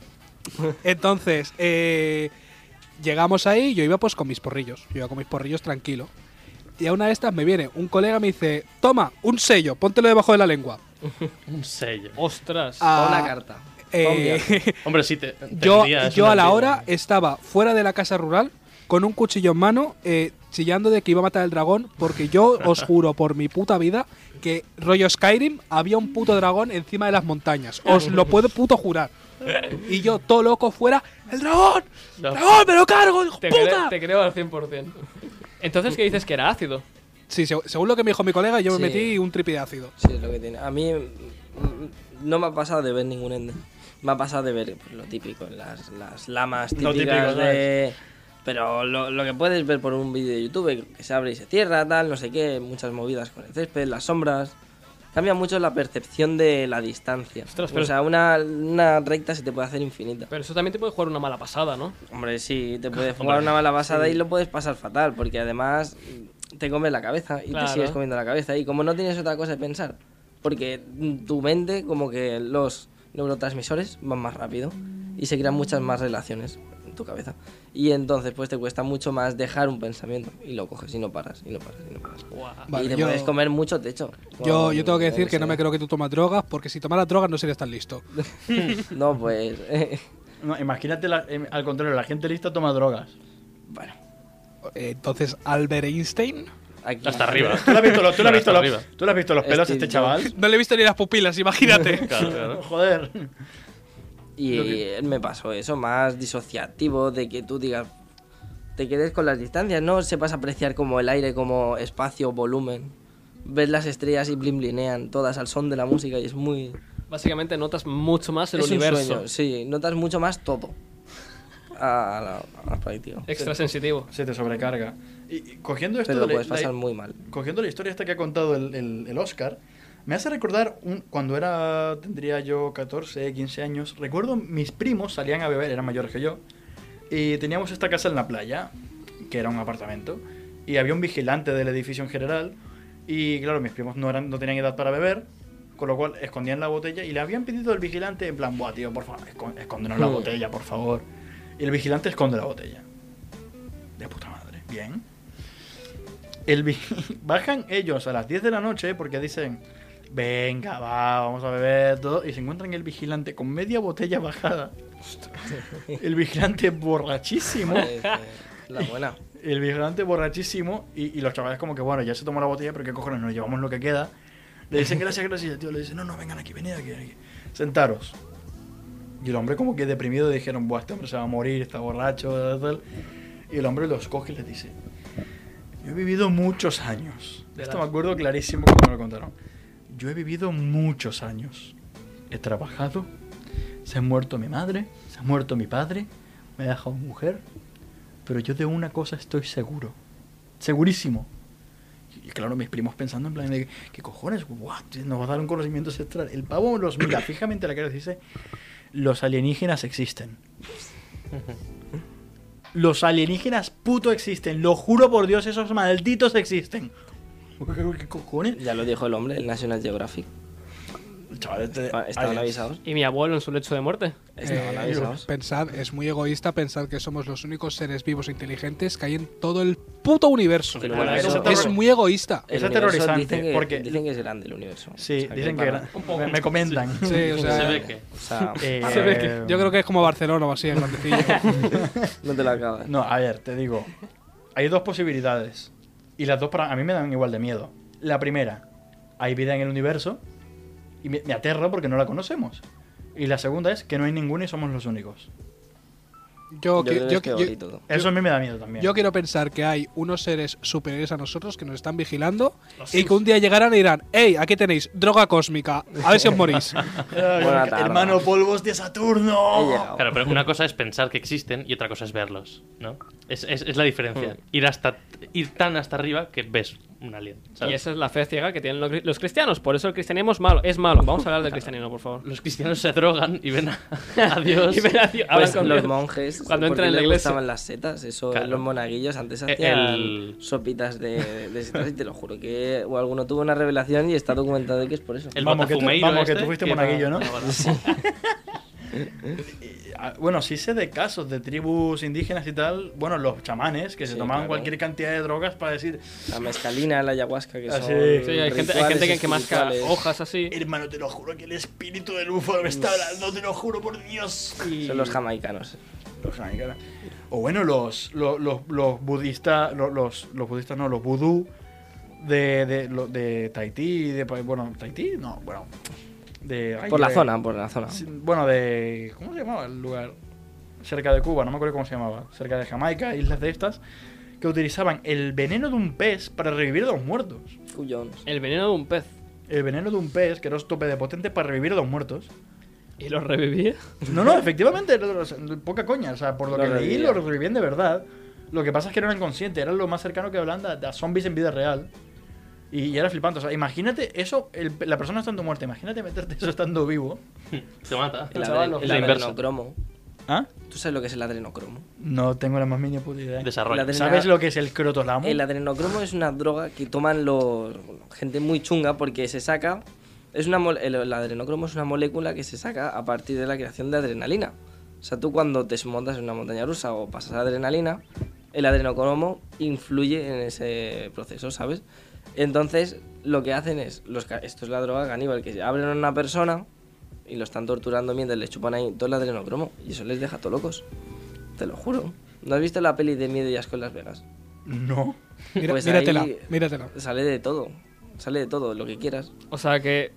G: Entonces, eh, llegamos ahí, yo iba pues con mis porrillos. Yo iba con mis porrillos tranquilo. Y a una de estas me viene un colega y me dice, toma, un sello, póntelo debajo de la lengua.
H: Un sello.
E: Ostras.
G: Ah,
F: O una carta.
G: eh,
H: Hombre, sí, te.
G: Yo,
H: tendrías
G: yo
H: una
G: a la
H: antigua.
G: hora estaba fuera de la casa rural con un cuchillo en mano, eh, chillando de que iba a matar al dragón, porque yo os juro por mi puta vida que rollo Skyrim había un puto dragón encima de las montañas. Os lo puedo puto jurar. Y yo, todo loco, fuera, ¡el dragón!
E: No.
G: ¡Dragón, me lo cargo, hijo
E: te,
G: puta!
E: creo, te creo al 100%. Entonces, ¿qué dices que era ácido?
G: Sí, seg- según lo que me dijo mi colega, yo
F: Sí.
G: me metí un tripi de ácido.
F: Sí, es lo que tiene. A mí mm, no me ha pasado de ver ningún ende. Me ha pasado de ver pues, lo típico, las, las lamas
D: Lo
F: típicas
D: típico,
F: de... Pero lo, lo que puedes ver por un vídeo de YouTube, que se abre y se cierra, tal, no sé qué, muchas movidas con el césped, las sombras... Cambia mucho la percepción de la distancia.
E: Ostras,
F: o
E: pero-
F: sea, una, una recta se te puede hacer infinita.
E: Pero eso también te puede jugar una mala pasada, ¿no?
F: Hombre, sí, te puedes jugar una mala basada y lo puedes pasar fatal, porque además mm, te comes la cabeza y
E: Claro.
F: te sigues comiendo la cabeza. Y como no tienes otra cosa de pensar, porque mm, tu mente, como que los neurotransmisores van más rápido y se crean muchas más relaciones en tu cabeza. Y entonces, pues te cuesta mucho más dejar un pensamiento y lo coges y no paras, y no paras, y no paras.
G: Vale,
F: y te
G: yo-
F: puedes comer mucho techo.
G: Yo,
F: Con-
G: yo tengo que
F: con
G: decir que no
F: sé.
G: me creo que tú tomas drogas, porque si tomaras drogas no serías tan listo.
F: No, pues. eh,
D: No, imagínate, la- em, al contrario, la gente lista toma drogas.
F: bueno,
G: Eh, Entonces, Albert Einstein...
F: aquí.
H: Hasta arriba.
D: ¿Tú le has visto, los- tú le has visto
H: Hasta
D: los-
H: arriba.
D: tú le has visto los pelos a
F: Steve
D: este chaval?
G: No le he visto ni las pupilas, imagínate.
H: Claro, claro.
D: Joder.
F: Y me pasó eso, más disociativo, de que tú digas, te quedes con las distancias, no sepas apreciar como el aire, como espacio, volumen. Ves las estrellas y blinean todas al son de la música y es muy...
E: Básicamente notas mucho más el
F: es un
E: universo.
F: sueño, sí, notas mucho más todo. A la, a la práctica.
E: Extrasensitivo.
D: Se te sobrecarga. Y, y cogiendo
F: Te
D: esto
F: lo
D: de la-
F: puedes
D: la-
F: pasar muy mal.
D: cogiendo la historia esta que ha contado el, el- el Oscar, me hace recordar un- cuando era tendría yo 14, 15 años, recuerdo mis primos salían a beber, eran mayores que yo, y teníamos esta casa en la playa, que era un apartamento, y había un vigilante del edificio en general, y claro, mis primos no, eran, no tenían edad para beber, con lo cual escondían la botella y le habían pedido al vigilante en plan, buah, tío, por favor, escon- escóndenos la botella, por favor. Y el vigilante esconde la botella. De puta madre. Bien. El vi- Bajan ellos a las 10 de la noche porque dicen, venga, va, vamos a beber todo. Y se encuentran el vigilante con media botella bajada. El vigilante borrachísimo.
F: Es, eh, la buena.
D: El vigilante borrachísimo. Y, y los chavales como que, bueno, ya se tomó la botella, pero qué cojones, nos llevamos lo que queda. Le dicen gracias, gracias. Y el tío le dice, no, no, vengan aquí, venid aquí, venid aquí. Sentaros. Y el hombre como que deprimido dijeron, Buah, este hombre se va a morir, está borracho, tal, tal. Y el hombre los coge y les dice, yo he vivido muchos años. De esto me acuerdo clarísimo cuando me lo contaron. Yo he vivido muchos años. He trabajado. Se ha muerto mi madre. Se ha muerto mi padre. Me ha dejado mujer. Pero yo de una cosa estoy seguro. Segurísimo. Y, y claro, mis primos pensando en plan de, ¿qué cojones? What? Nos va a dar un conocimiento ancestral. El pavo los mira fijamente a la cara y les dice, los alienígenas existen. Los alienígenas puto existen. Lo juro por Dios, esos malditos existen. ¿Qué cojones?
F: Ya lo dijo el hombre, el National Geographic. Ah,
D: Chaval, este-
F: Estaban
D: aliens.
F: avisados.
E: ¿Y mi abuelo en su lecho de muerte?
F: Estaban
G: Eh,
F: avisados.
G: pensad, es muy egoísta pensar que somos los únicos seres vivos e inteligentes que hay en todo el puto universo.
F: Pero bueno,
D: eso-
G: es muy egoísta.
F: El
D: Es
F: universo
D: aterrorizante,
F: Dicen que,
D: porque-
F: dicen que es grande el universo. O
D: Sí,
F: sea, que
D: dicen que
F: para-
D: era- me, me comentan.
G: Sí, o sea,
H: Se ve que.
F: O sea,
D: Eh,
G: se ve que- yo creo que es como Barcelona o así, en grandecillo.
F: no te lo acabas.
D: No, a ver, te digo. Hay dos posibilidades. Y las dos para a mí me dan igual de miedo. La primera, hay vida en el universo y me, me aterra porque no la conocemos. Y la segunda es que no hay ninguna y somos los únicos.
F: Yo
G: Yo, que-
F: creo
G: yo-
F: que
G: yo-
F: es que bonito todo.
D: Eso a mí me da miedo también.
G: yo quiero pensar que hay unos seres superiores a nosotros que nos están vigilando y que un día llegarán y dirán, hey, aquí tenéis droga cósmica, a ver si os morís.
D: Ay,
F: Buena tarde.
D: hermano polvos de
F: He
D: Saturno.
F: llegado.
H: Claro, pero una cosa es pensar que existen y otra cosa es verlos, ¿no? Es, es, es la diferencia. Ir hasta ir tan hasta arriba que ves un alien. ¿sabes?
E: Y esa es la fe ciega que tienen los, cri- los cristianos. Por eso el cristianismo es malo. Es malo. Vamos a hablar del cristianismo, por favor.
H: Los cristianos se drogan y ven a, a Dios.
E: Y ven a Dios, hablan
F: Pues
E: con
F: los
E: Dios.
F: monjes,
E: Cuando
F: porque
E: entran en la
F: les
E: iglesia. E-
F: gustaban las setas, eso
H: Claro.
F: los monaguillos antes
H: Eh,
F: hacían
H: el-
F: sopitas de, de setas y te lo juro que o alguno tuvo una revelación y está documentado de que es por eso.
H: El
D: Vamos, que tú-
H: botafumeiro
D: vamos, que
H: este,
D: tú fuiste
H: va-
D: monaguillo, ¿no?
H: bueno.
D: Ah, Bueno, sí sé de casos de tribus indígenas y tal. Bueno, los chamanes que se
F: Sí,
D: tomaban
F: claro.
D: cualquier cantidad de drogas para decir,
F: La mezcalina, la ayahuasca que
D: Ah,
F: son
D: sí. Sí,
E: Sí, hay gente, hay
F: rituales
E: gente que, que masca
F: espirituales.
E: hojas así.
D: hermano, te lo juro que el espíritu del búfalo me está hablando, te lo juro por Dios. Y-
F: Son los jamaicanos.
D: Los Hankara. O bueno, los, los, los, los budistas, los, los, los budistas no, los vudú de, de, lo- de Tahití, de, pa- bueno, Tahití, no, bueno, de... ay,
F: Por la
E: eh.
D: de-
F: zona, por la zona.
D: sí, Bueno, de... ¿Cómo se llamaba el lugar? Cerca de Cuba, no me acuerdo cómo se llamaba, cerca de Jamaica, islas de estas, que utilizaban el veneno de un pez para revivir a los muertos.
F: Cuyones.
E: El veneno de un pez.
D: El veneno de un pez, que era un tope de potente para revivir a los muertos.
E: ¿Y lo reviví?
D: No, no, efectivamente, lo- lo- poca coña. O sea, por lo,
F: Lo
D: que leí, lo
F: revivían.
D: revivían de verdad. Lo que pasa es que no eran conscientes, era lo más cercano que hablaban de- de a zombies en vida real. Y, y era flipante. O sea, imagínate eso, el- la persona estando muerta, imagínate meterte eso estando vivo.
H: Te mata.
F: El,
D: chaval,
F: adre-
D: los-
F: el
H: la inversa.
F: adrenocromo.
D: ¿Ah?
F: ¿Tú sabes lo que es el adrenocromo?
D: No tengo la más mínima puta idea.
H: Desarrollo.
F: La adrenalina-
D: ¿Sabes lo que es el crotolamo?
F: El adrenocromo es una droga que toman los gente muy chunga porque se saca es una mol- el, el adrenocromo es una molécula que se saca a partir de la creación de adrenalina. O sea, tú cuando te montas en una montaña rusa o pasas adrenalina, el adrenocromo influye en ese proceso, ¿sabes? Entonces, lo que hacen es los ca- esto es la droga caníbal que abren a una persona y lo están torturando mientras le chupan ahí todo el adrenocromo y eso les deja todo locos. Te lo juro. ¿No has visto la peli de Miedo y Asco en Las Vegas?
D: No.
G: Mira-
F: Pues
G: míratela,
F: ahí-
G: míratela.
F: Sale de todo. Sale de todo, lo que quieras.
E: O sea que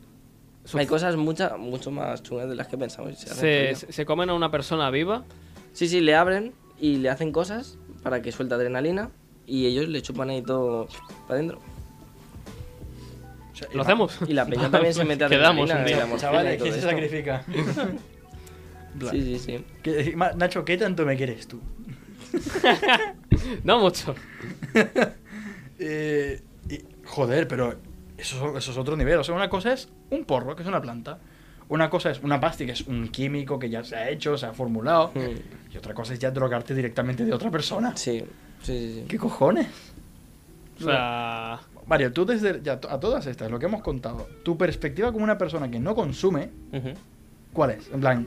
E: Su-
F: Hay cosas mucha, mucho más chungas de las que pensamos. y se hacen
E: se,
F: frío.
E: se- se comen a una persona viva.
F: Sí, sí, le abren y le hacen cosas para que suelta adrenalina y ellos le chupan ahí todo para adentro.
D: O sea,
E: ¿Lo hacemos?
F: Y la peña también se mete
H: Quedamos
F: adrenalina.
H: un día.
F: y la morfina y
D: Chavales,
F: todo
D: ¿quién se
F: esto.
D: sacrifica?
F: Sí, sí, sí.
D: ¿Qué- Ma- Nacho, ¿qué tanto me quieres tú?
E: No mucho.
D: Eh, y- joder, pero eso, eso es otro nivel. O sea, una cosa es un porro, que es una planta. Una cosa es una pasti, que es un químico que ya se ha hecho, se ha formulado.
F: Mm.
D: Y otra cosa es ya drogarte directamente de otra persona.
F: Sí, sí, sí. sí.
D: ¿Qué cojones?
E: O sea,
D: Mario, tú desde ya to- a todas estas, lo que hemos contado, tu perspectiva como una persona que no consume,
H: Ujú.
D: ¿cuál es? En plan,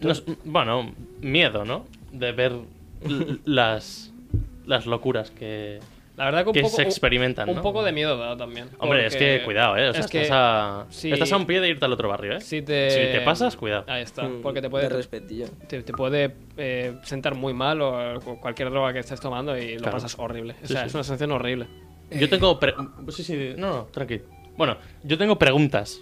H: Nos- bueno, miedo, ¿no? De ver l- las, las locuras que,
E: la verdad que un
H: que
E: poco
H: se experimentan.
E: un
H: ¿no?
E: poco de miedo da también.
H: Hombre, es
E: porque
H: que cuidado, ¿eh? O sea,
E: es que
H: estás, a,
E: si-
H: estás a un pie de irte al otro barrio, ¿eh?
E: Si te
H: Si te pasas, cuidado.
E: Ahí está,
F: Mm,
E: porque te
F: de
E: puede
F: respetillo.
E: te, te puede eh, sentar muy mal o cu- cualquier droga que estés tomando y lo
H: Claro.
E: pasas horrible. O
H: Sí,
E: sea,
H: sí.
E: es una sensación horrible.
H: Yo tengo... pre- Sí, sí, no, no, tranqui. Bueno, yo tengo preguntas.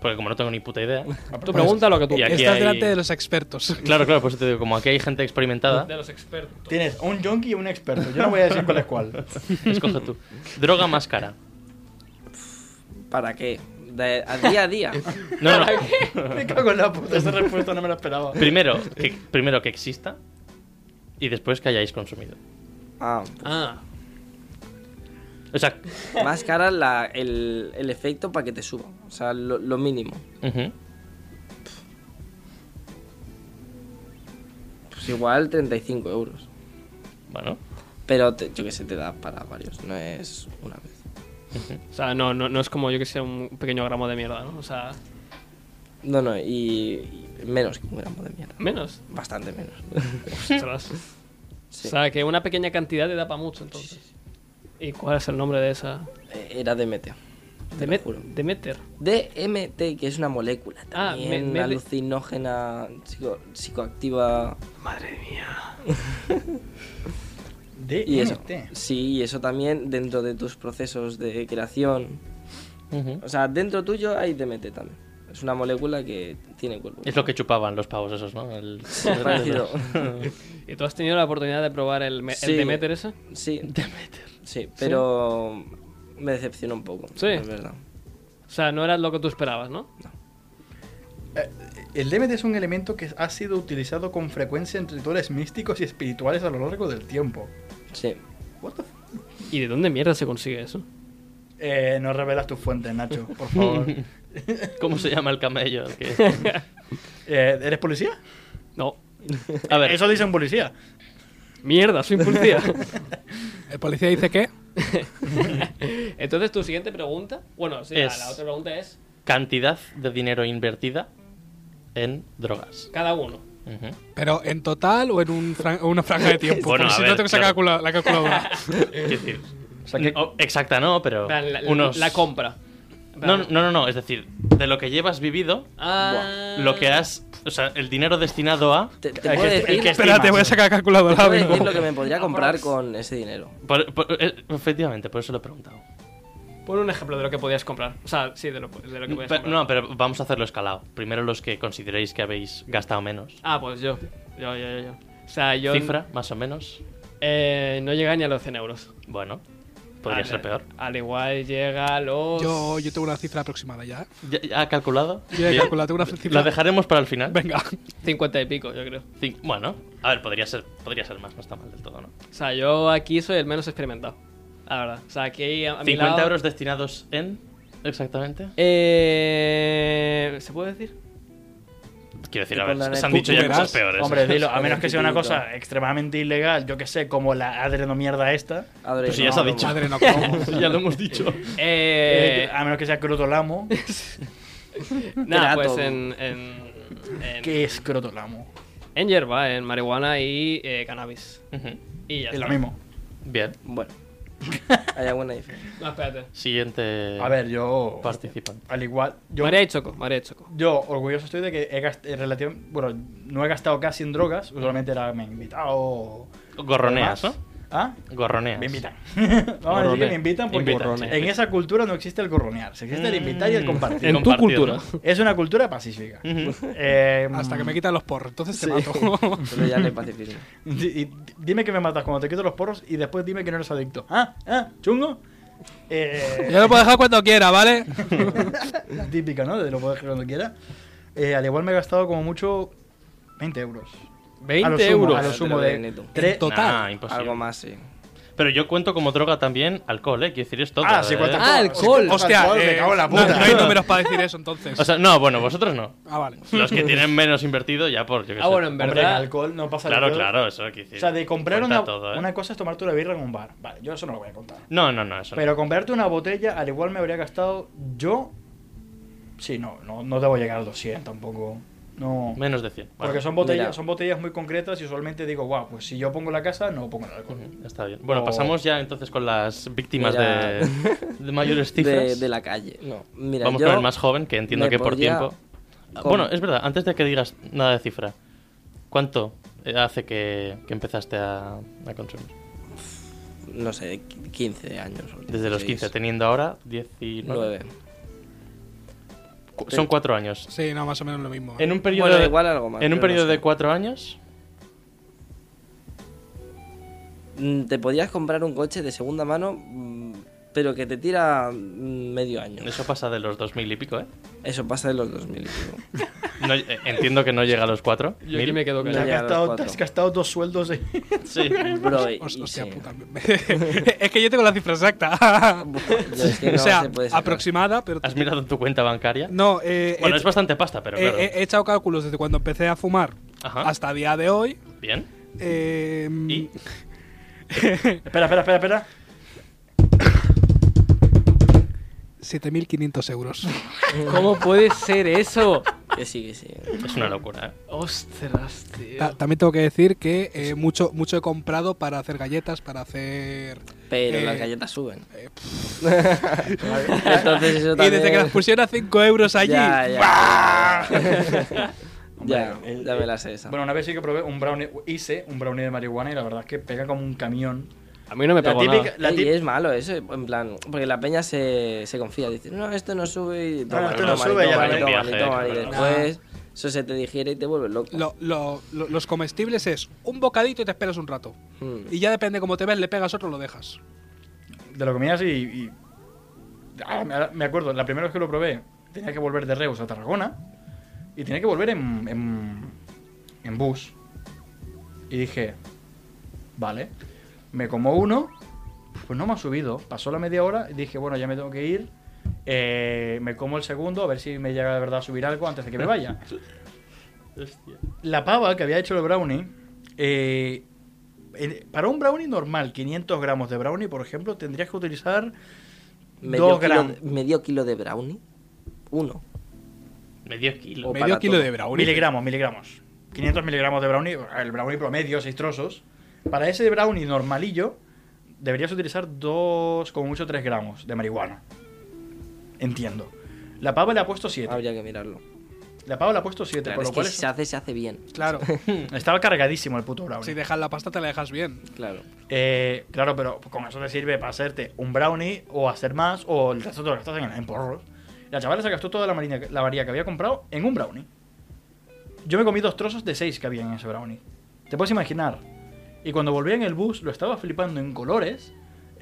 H: Porque como no tengo ni puta idea.
E: Tú pregunta lo que tú
H: Y aquí
E: quieras.
G: Estás
H: hay-
G: delante de los expertos.
H: Claro, claro, pues te digo, como aquí hay gente experimentada,
E: De los expertos.
D: Tienes un junkie y un experto. Yo no voy a decir cuál es cuál.
H: escoge tú. Droga más cara.
F: ¿Para qué? De- a día a día.
H: No, no.
D: Me cago en la puta, esa respuesta no me la esperaba.
H: Primero que, primero que exista y después que hayáis consumido.
F: Ah,
E: Ah,
H: O sea,
F: más cara la- el, el efecto para que te suba. O sea, lo, lo mínimo.
H: ujú.
F: Pues igual 35 euros.
H: bueno,
F: Pero te- yo que sé, te da para varios. No es una vez.
E: o sea, no, no, no es como yo que sé, un pequeño gramo de mierda, ¿no? O sea,
F: No, no, y, y menos que un gramo de mierda.
E: menos. Pues
F: Bastante menos.
E: Ostras.
F: Sí.
E: O sea, que una pequeña cantidad te da para mucho, entonces. ¿Y cuál es el nombre de esa?
F: Eh, Era DMT. Te lo
E: Demet
F: juro.
E: Demeter.
F: DMT, que es una molécula
E: Ah, me-
F: también
E: me-
F: alucinógena, psico- psicoactiva.
D: De
F: Y eso. Sí, y eso también dentro de tus procesos de creación.
H: ujú.
F: O sea, dentro tuyo hay DMT también. Es una molécula que tiene cuerpo.
H: es lo que chupaban los pavos esos, ¿no? El-
F: Parecido.
E: ¿Y tú has tenido la oportunidad de probar el, me- el
F: Sí.
E: Demeter ese?
F: Sí. Sí, pero me decepcionó un poco.
E: Sí.
F: Es verdad.
E: O sea, no era lo que tú esperabas, ¿no?
D: Eh, El DMT es un elemento que ha sido utilizado con frecuencia en rituales místicos y espirituales a lo largo del tiempo.
F: Sí.
D: What the f-
E: ¿Y de dónde mierda se consigue eso?
D: Eh, no revelas tus fuentes, Nacho, por favor.
H: ¿Cómo se llama el camello? El que-
D: Eh, ¿Eres policía?
E: No.
H: A ver,
D: Eso dice un policía.
E: Mierda, soy policía.
G: El policía dice que
E: Entonces, tu siguiente pregunta. Bueno, sí, la-
H: Es-
E: la otra pregunta es:
H: cantidad de dinero invertida en drogas.
E: cada uno.
H: Ujú.
G: Pero en total o en un fran- una franja de tiempo.
H: Bueno,
G: Porque
H: a
G: si
H: ver,
G: no tengo esa
H: claro.
G: calcula- la calculadora.
H: Quiero decir, o- exacta no, pero
E: La, la-
H: unos...
E: la compra.
H: no, no, no, no, es decir, de lo que llevas vivido,
E: Ah,
H: lo que has... O sea, el dinero destinado a...
F: Te, te puedo
D: que- el
F: decir,
D: que
F: te
G: Espérate, voy a sacar la calculadora.
F: puedo
G: vengo.
F: decir lo que me podría comprar con ese dinero.
H: Por- por- eh, efectivamente, por eso lo he preguntado.
E: Pon un ejemplo de lo que podías comprar. O sea, sí, de lo, de lo que podías
H: Pe-
E: comprar.
H: no, pero vamos a hacerlo escalado. Primero los que consideréis que habéis gastado menos.
E: Ah, pues yo. Yo, yo, yo. yo. O sea, yo.
H: Cifra, más o menos.
E: Eh, no llega ni a los 100 euros.
H: Bueno, podría
E: Al-
H: ser peor.
E: Al igual llega a los.
G: Yo, yo tengo una cifra aproximada ya. ¿eh?
H: ¿Ya, ya ha calculado?
G: Yo he
H: Bien.
G: calculado, tengo una
H: Lo
G: cifra.
H: dejaremos para el final.
G: Venga.
E: 50 y pico, yo creo.
H: Cin- Bueno, a ver, podría ser, podría ser más, no está mal del todo, ¿no?
E: O sea, yo aquí soy el menos experimentado. La verdad. O sea, aquí a, a mi
H: 50
E: lado-
H: euros destinados en. Exactamente.
E: Eh, ¿Se puede decir?
H: Quiero decir,
F: Te
H: a
F: pondrán
H: ver,
F: en-
H: se han
F: Tú-
H: dicho
G: tú
H: ya
G: verás,
H: cosas peores. ¿eh?
D: Hombre, dilo, a
F: Joder,
D: menos que
F: qué
D: sea una
F: típico.
D: cosa extremadamente ilegal, yo que sé, como la adrenomierda esta.
F: Adoré,
H: Pues si ya se ha
F: no,
H: dicho.
G: Madre, no como.
H: ya lo hemos dicho.
E: Eh,
D: Eh, a menos que sea crotolamo.
E: nada,
F: Trato.
E: pues en. en en,
D: ¿Qué es crotolamo?
E: en hierba, en marihuana y eh, cannabis.
H: Ujú.
E: Y ya
D: Es lo
E: está.
D: mismo.
H: Bien,
F: Bueno. Hay alguna diferencia.
E: No, espérate.
H: siguiente
D: A ver, yo.
H: participante.
D: Al igual. Yo,
E: María y Choco, María y Choco.
D: yo orgulloso estoy de que he gastado. bueno, no he gastado casi en drogas. Usualmente era me he invitado. o
H: Gorroneas, ¿no?
D: demás. ¿Ah?
H: Gorroneas.
D: Me invitan. Vamos a decir que me invitan porque
H: Invitan, sí.
D: en esa cultura no existe el gorronear. Se existe el invitar y el
H: Mm.
D: compartir.
E: En tu
H: compartido,
E: cultura.
D: Es una cultura pacífica.
H: Ujú.
D: Eh,
G: Hasta que me quitan los porros, entonces te
F: Sí.
G: mato.
F: Pero ya no hay pacifismo.
D: di- di- Dime que me matas cuando te quito los porros y después dime que no eres adicto. ¿Ah? ¿Ah? ¿Chungo? Eh,
G: Yo lo puedo dejar cuando quiera, ¿vale?
D: La típica, ¿no? De lo puedes dejar cuando quiera. Eh, al igual me he gastado como mucho 20 euros. a lo
E: 20
D: sumo,
E: euros.
D: A lo sumo
F: Te lo
D: de...
F: den tú.
D: tres-
G: Total.
H: Nah, Ah, imposible.
F: Algo más, sí.
H: Pero yo cuento como droga también alcohol, ¿eh? Quiero decir, es todo.
D: Ah, sí,
H: ¿eh?
D: cuenta
E: Ah,
D: todo.
E: alcohol.
G: Hostia,
D: Alcohol, me
G: eh,
D: cago en la
G: no-
D: puta.
G: No, hay números para decir eso, entonces.
H: O sea, no, bueno, vosotros no.
G: ah, vale.
H: Los que tienen menos invertido, ya por. Yo qué
E: Ah,
H: sé.
E: bueno, en
D: Hombre, en
E: verdad.
D: alcohol no pasa
H: Claro,
D: nada.
H: claro, eso quiero decir.
D: O sea, de comprar
H: Eh, cuenta
D: una,
H: todo, ¿eh?
D: una cosa es tomarte una birra en un bar. Vale, yo eso no lo voy a contar.
H: No, no, no, eso no.
D: Pero comprarte una botella, al igual me habría gastado yo... Sí, no, no, no debo llegar a 200 tampoco. No...
H: Menos de 100. Bueno,
D: Porque son botellas,
F: mira.
D: son botellas muy concretas y usualmente digo, guau, pues si yo pongo la casa, no pongo el alcohol.
H: Está bien. Bueno,
D: O-
H: pasamos ya entonces con las víctimas
F: Mira.
H: de, de mayores
F: De,
H: cifras.
F: de la calle. No. Mira,
H: Vamos
F: yo
H: con el más joven, que entiendo
F: me
H: que por
F: podría
H: tiempo.
F: com-
H: Bueno, es verdad, antes de que digas nada de cifra, ¿cuánto eh, hace que, que empezaste a, a consumir?
F: no sé, 15 años. o
H: Desde los 15,
F: 16,
H: teniendo ahora 19.
F: nueve.
H: Cu- Son cuatro años.
G: Sí, no, más o menos lo mismo. ¿eh?
H: En un periodo,
F: Bueno,
H: de-
F: igual algo más,
H: en un
F: pero no
H: periodo
F: sé.
H: de cuatro años,
F: Mm, Te podías comprar un coche de segunda mano, mm, pero que te tira mm, medio año.
H: eso pasa de los 2000 y pico, ¿eh?
F: Eso pasa de los 2000 y pico.
H: No- eh, entiendo que no llega a los cuatro.
E: Yo
H: mil.
E: aquí me quedo
D: Te has,
E: callado.
F: ya, los
D: gastado, te
F: cuatro.
D: has gastado dos sueldos en
H: Sí.
F: Bro, y-
G: Hos-
F: y
G: Hostia
F: sí.
G: puta. es que yo tengo la cifra exacta.
F: Yo es que no
G: o sea,
F: se puede sacar.
G: aproximada, pero.
H: ¿Has mirado en tu cuenta bancaria?
G: No, eh,
H: Bueno,
G: he-
H: es bastante pasta, pero
G: he-
H: claro.
G: he, he echado cálculos desde cuando empecé a fumar
H: Ajá.
G: hasta día de hoy.
H: Bien.
G: Eh,
H: Y
D: Espera, espera, espera, espera.
G: 7.500 euros.
E: ¿Cómo puede ser eso?
F: Que sí, que sí.
H: es una locura, ¿eh?
E: Ostras,
G: Ta-
E: tío.
G: también tengo que decir que eh, mucho, mucho he comprado para hacer galletas, para hacer.
F: Pero
G: Eh,
F: las galletas suben.
G: eh,
F: Entonces eso
G: Y
F: también...
G: desde que las pusieron a 5 euros allí.
F: Ya, ya. ya,
D: Hombre, el-
F: ya me la sé esa.
D: Bueno, una vez sí que probé un brownie, hice un brownie de marihuana y la verdad es que pega como un camión.
E: A mí no me
D: La
E: pegó
D: típica,
E: nada.
D: la
F: Ey,
D: tip-
F: es malo eso, en plan, porque la peña se, se confía, dice, no, esto no sube y toma,
D: esto
F: toma,
D: no sube,
F: y
D: ya
F: toma,
D: no
F: y
D: hay
F: toma, y
H: viaje,
F: toma, y
H: claro.
F: después eso se te digiere y te vuelve loco.
G: Lo- lo- lo- los comestibles es un bocadito y te esperas un rato.
F: Mm.
G: Y ya depende cómo te ves, le pegas otro, lo dejas.
D: de lo comías y... y- Ah, me- ahora me acuerdo, la primera vez que lo probé tenía que volver de Reus a Tarragona y tenía que volver en, en, en bus. Y dije, vale, me como uno, pues no me ha subido. Pasó la media hora y dije, bueno, ya me tengo que ir. eh, me como el segundo, a ver si me llega de verdad a subir algo antes de que me vaya.
H: Hostia.
D: la pava que había hecho el brownie, eh, en- para un brownie normal, 500 gramos de brownie, por ejemplo, tendrías que utilizar
F: Medio,
D: dos
F: kilo,
D: gramos.
F: medio kilo de brownie, uno.
H: Medio kilo.
F: O
G: Medio
F: para
G: kilo
F: todo.
G: de brownie.
D: Miligramos, miligramos. 500 miligramos de brownie, el brownie promedio, 6 trozos. Para ese brownie normalillo, deberías utilizar 2, como mucho 3 gramos de marihuana. Entiendo. La pava le ha puesto 7.
F: Habría que mirarlo.
D: La pava le ha puesto 7,
F: Claro,
D: por
F: es
D: lo
F: que
D: cual
F: si se hace, se hace bien.
G: Claro.
D: estaba cargadísimo el puto brownie.
G: si dejas la pasta, te la dejas bien.
F: Claro.
D: Eh, claro, pero con eso te sirve para hacerte un brownie o hacer más o el resto te lo gastas en, en porros. La chavala se gastó toda la, marina, la varilla que había comprado en un brownie. Yo me comí dos trozos de seis que había en ese brownie. Te puedes imaginar. Y cuando volví en el bus lo estaba flipando en colores,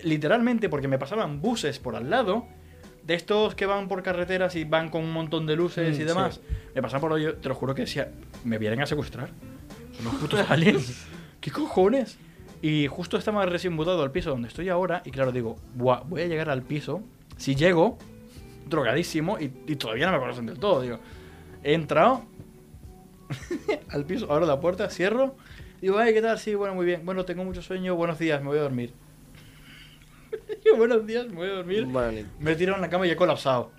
D: literalmente porque me pasaban buses por al lado, de estos que van por carreteras y van con un montón de luces y demás. Me pasaban por hoy, te lo juro que decía, me vienen a secuestrar. Son Unos putos aliens. ¿Qué cojones? Y justo estaba recién mudado al piso donde estoy ahora. Y claro, digo, "Buah, voy a llegar al piso. Si llego, drogadísimo. Y, y todavía no me conocen del todo. Digo, he entrado al piso, abro la puerta, cierro. Digo, ay, ¿qué tal? Sí, bueno, muy bien. Bueno, tengo mucho sueño. Buenos días, me voy a dormir. Digo, buenos días, me voy a dormir.
F: Bueno, ni-
D: Me he tirado en la cama y he colapsado.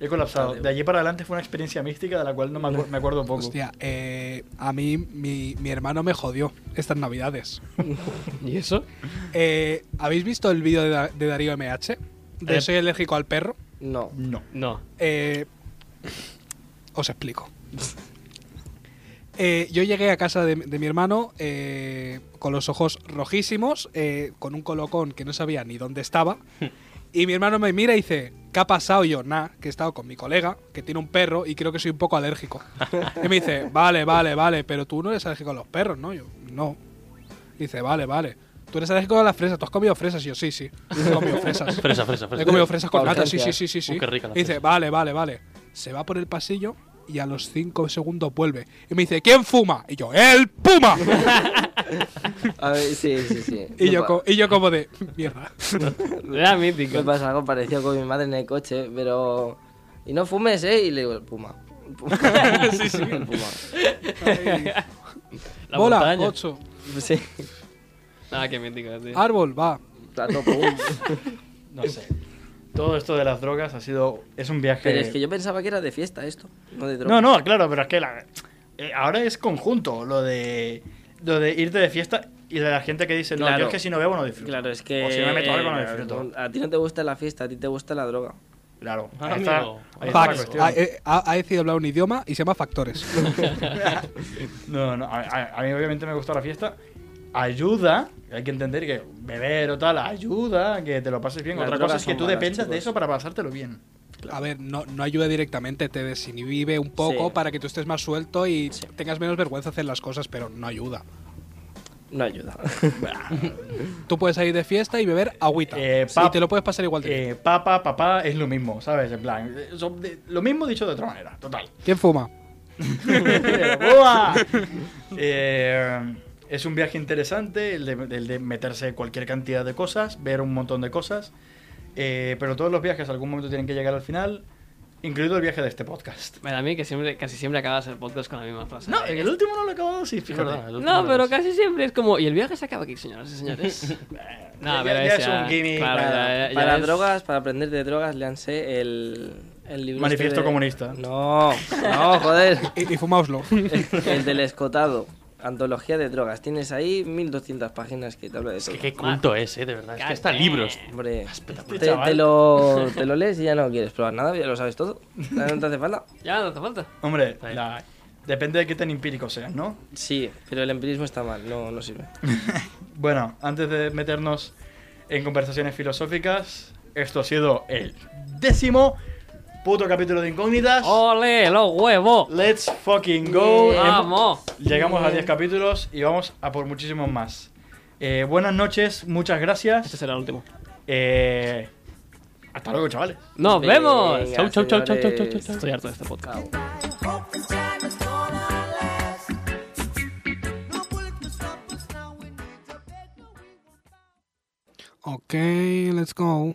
D: He colapsado. De allí para adelante fue una experiencia mística de la cual no me, acu- me acuerdo poco.
G: Hostia, eh, a mí mi, mi hermano me jodió estas navidades.
E: ¿Y eso?
G: Eh, ¿Habéis visto el vídeo de, Da- de Darío MH? De
E: Eh.
G: Soy alérgico al perro.
F: no.
D: No.
E: No.
G: Eh, os explico. Eh, yo llegué a casa de, de mi hermano eh, con los ojos rojísimos, eh, con un colocón que no sabía ni dónde estaba. Y mi hermano me mira y dice, ¿qué ha pasado? Y yo, nada, que he estado con mi colega, que tiene un perro y creo que soy un poco alérgico. Y me dice, vale, vale, vale, pero tú no eres alérgico a los perros, ¿no? Yo, no. Dice, vale, vale. Tú eres alérgico a las fresas, tú has comido fresas. Y yo, sí, sí, he comido fresas.
H: Fresa, fresa, fresa.
G: He comido fresas con
F: Pa'
G: nata, sí, sí,
F: urgencias.
G: sí, sí. sí.
H: Uh, qué rica la
G: Y dice,
H: fresa.
G: vale, vale, vale. Se va por el pasillo y a los 5 segundos vuelve. Y me dice, ¿quién fuma? Y yo, ¡el Puma!
F: A ver, sí, sí, sí.
G: y,
F: Me
G: yo,
F: pa-
G: co- y yo como de, mierda.
E: Era mítico.
F: Me pasa algo parecido con mi madre en el coche, pero... Y no fumes, ¿eh? Y le digo, puma. Puma.
G: Sí, sí.
F: Puma.
E: La
G: Bola,
E: montaña.
G: 8.
F: Sí.
E: Ah, qué mítico, tío.
G: Árbol, va.
F: Plato, pum.
D: No sé. Todo esto de las drogas ha sido. Es un viaje.
F: Pero es que yo pensaba que era de fiesta esto, no de droga.
D: No, no, claro, pero es que la- eh, ahora es conjunto lo de, lo de irte de fiesta y de la gente que dice, no,
F: Claro.
D: yo es que si no bebo no disfruto.
F: Claro, es que.
D: O si no me meto algo no
F: eh,
D: disfruto.
F: A ti no te gusta la fiesta, a ti te gusta la droga.
D: Claro,
H: Amigo.
D: ahí está, ahí está la
G: Fax.
D: cuestión.
G: Ha, eh, ha- ha decidido hablar un idioma y se llama factores.
D: No, no, a, a- a mí obviamente me gusta la fiesta. ayuda, hay que entender que beber o tal ayuda, que te lo pases bien.
F: Las
D: Otra
F: drogas
D: cosa es que
F: son
D: tú
F: malas,
D: dependas de
F: chicos.
D: eso para pasártelo bien.
G: A ver, no, no ayuda directamente, te desinhibe un poco
F: Sí.
G: para que tú estés más suelto y tengas menos vergüenza de hacer las cosas, pero no ayuda.
F: No ayuda.
G: Tú puedes salir de fiesta y beber agüita.
D: Eh,
G: y
D: pap-
G: te lo puedes pasar igual de bien.
D: Eh, papa, papá, es lo mismo, ¿sabes? En plan, eh, son de- lo mismo dicho de otra manera, total.
G: ¿Quién fuma?
D: ¡Buah! Eh, es un viaje interesante, el de, el de meterse cualquier cantidad de cosas, ver un montón de cosas. Eh, pero todos los viajes algún momento tienen que llegar al final, incluido el viaje de este podcast.
I: Bueno, a mí que siempre, casi siempre acabas el podcast con la misma frase.
D: No, en el último no lo he acabado, sí,
H: Es
D: fíjate.
H: verdad, el último
I: No, pero
H: es-
I: casi siempre es como. Y el viaje se acaba aquí, señoras y
E: Eh,
I: señores.
D: Ya-
I: no, pero
D: ya
I: es,
D: es un gimmick,
I: claro,
D: claro.
I: ya- ya
F: para
I: es-
F: drogas, para aprender de drogas, léanse el, el libro.
D: Manifiesto
F: este de-
D: comunista.
F: No, no, joder.
G: Y, y fumaoslo.
F: el del escotado. Antología de drogas. Tienes ahí 1200 páginas que te habla de
H: Es
F: todo.
H: que qué culto es, eh, de verdad. Es que hasta
I: Cállate.
H: libros.
F: Hombre, te, te
D: chaval.
F: lo, te lo lees y ya no quieres probar nada, ya lo sabes todo. Ya no te hace falta.
I: Ya no hace falta.
D: Hombre,
H: Sí.
D: la- depende de qué tan empírico seas, ¿no?
F: Sí, pero el empirismo está mal, no, no sirve.
D: Bueno, antes de meternos en conversaciones filosóficas, esto ha sido el décimo puto capítulo de Incógnitas.
I: ¡Ole, los huevos!
D: Let's fucking go. Hemos-
I: ¡Vamos!
D: Llegamos a 10 capítulos y vamos a por muchísimos más. Eh, buenas noches, muchas
I: Este
D: gracias.
I: será el último.
D: Eh, hasta luego, chavales.
I: ¡Nos
F: Venga,
I: vemos!
F: Chau, chau, chau, chau, chau, chau, chau.
I: Estoy harto de este podcast.
G: ok, let's go.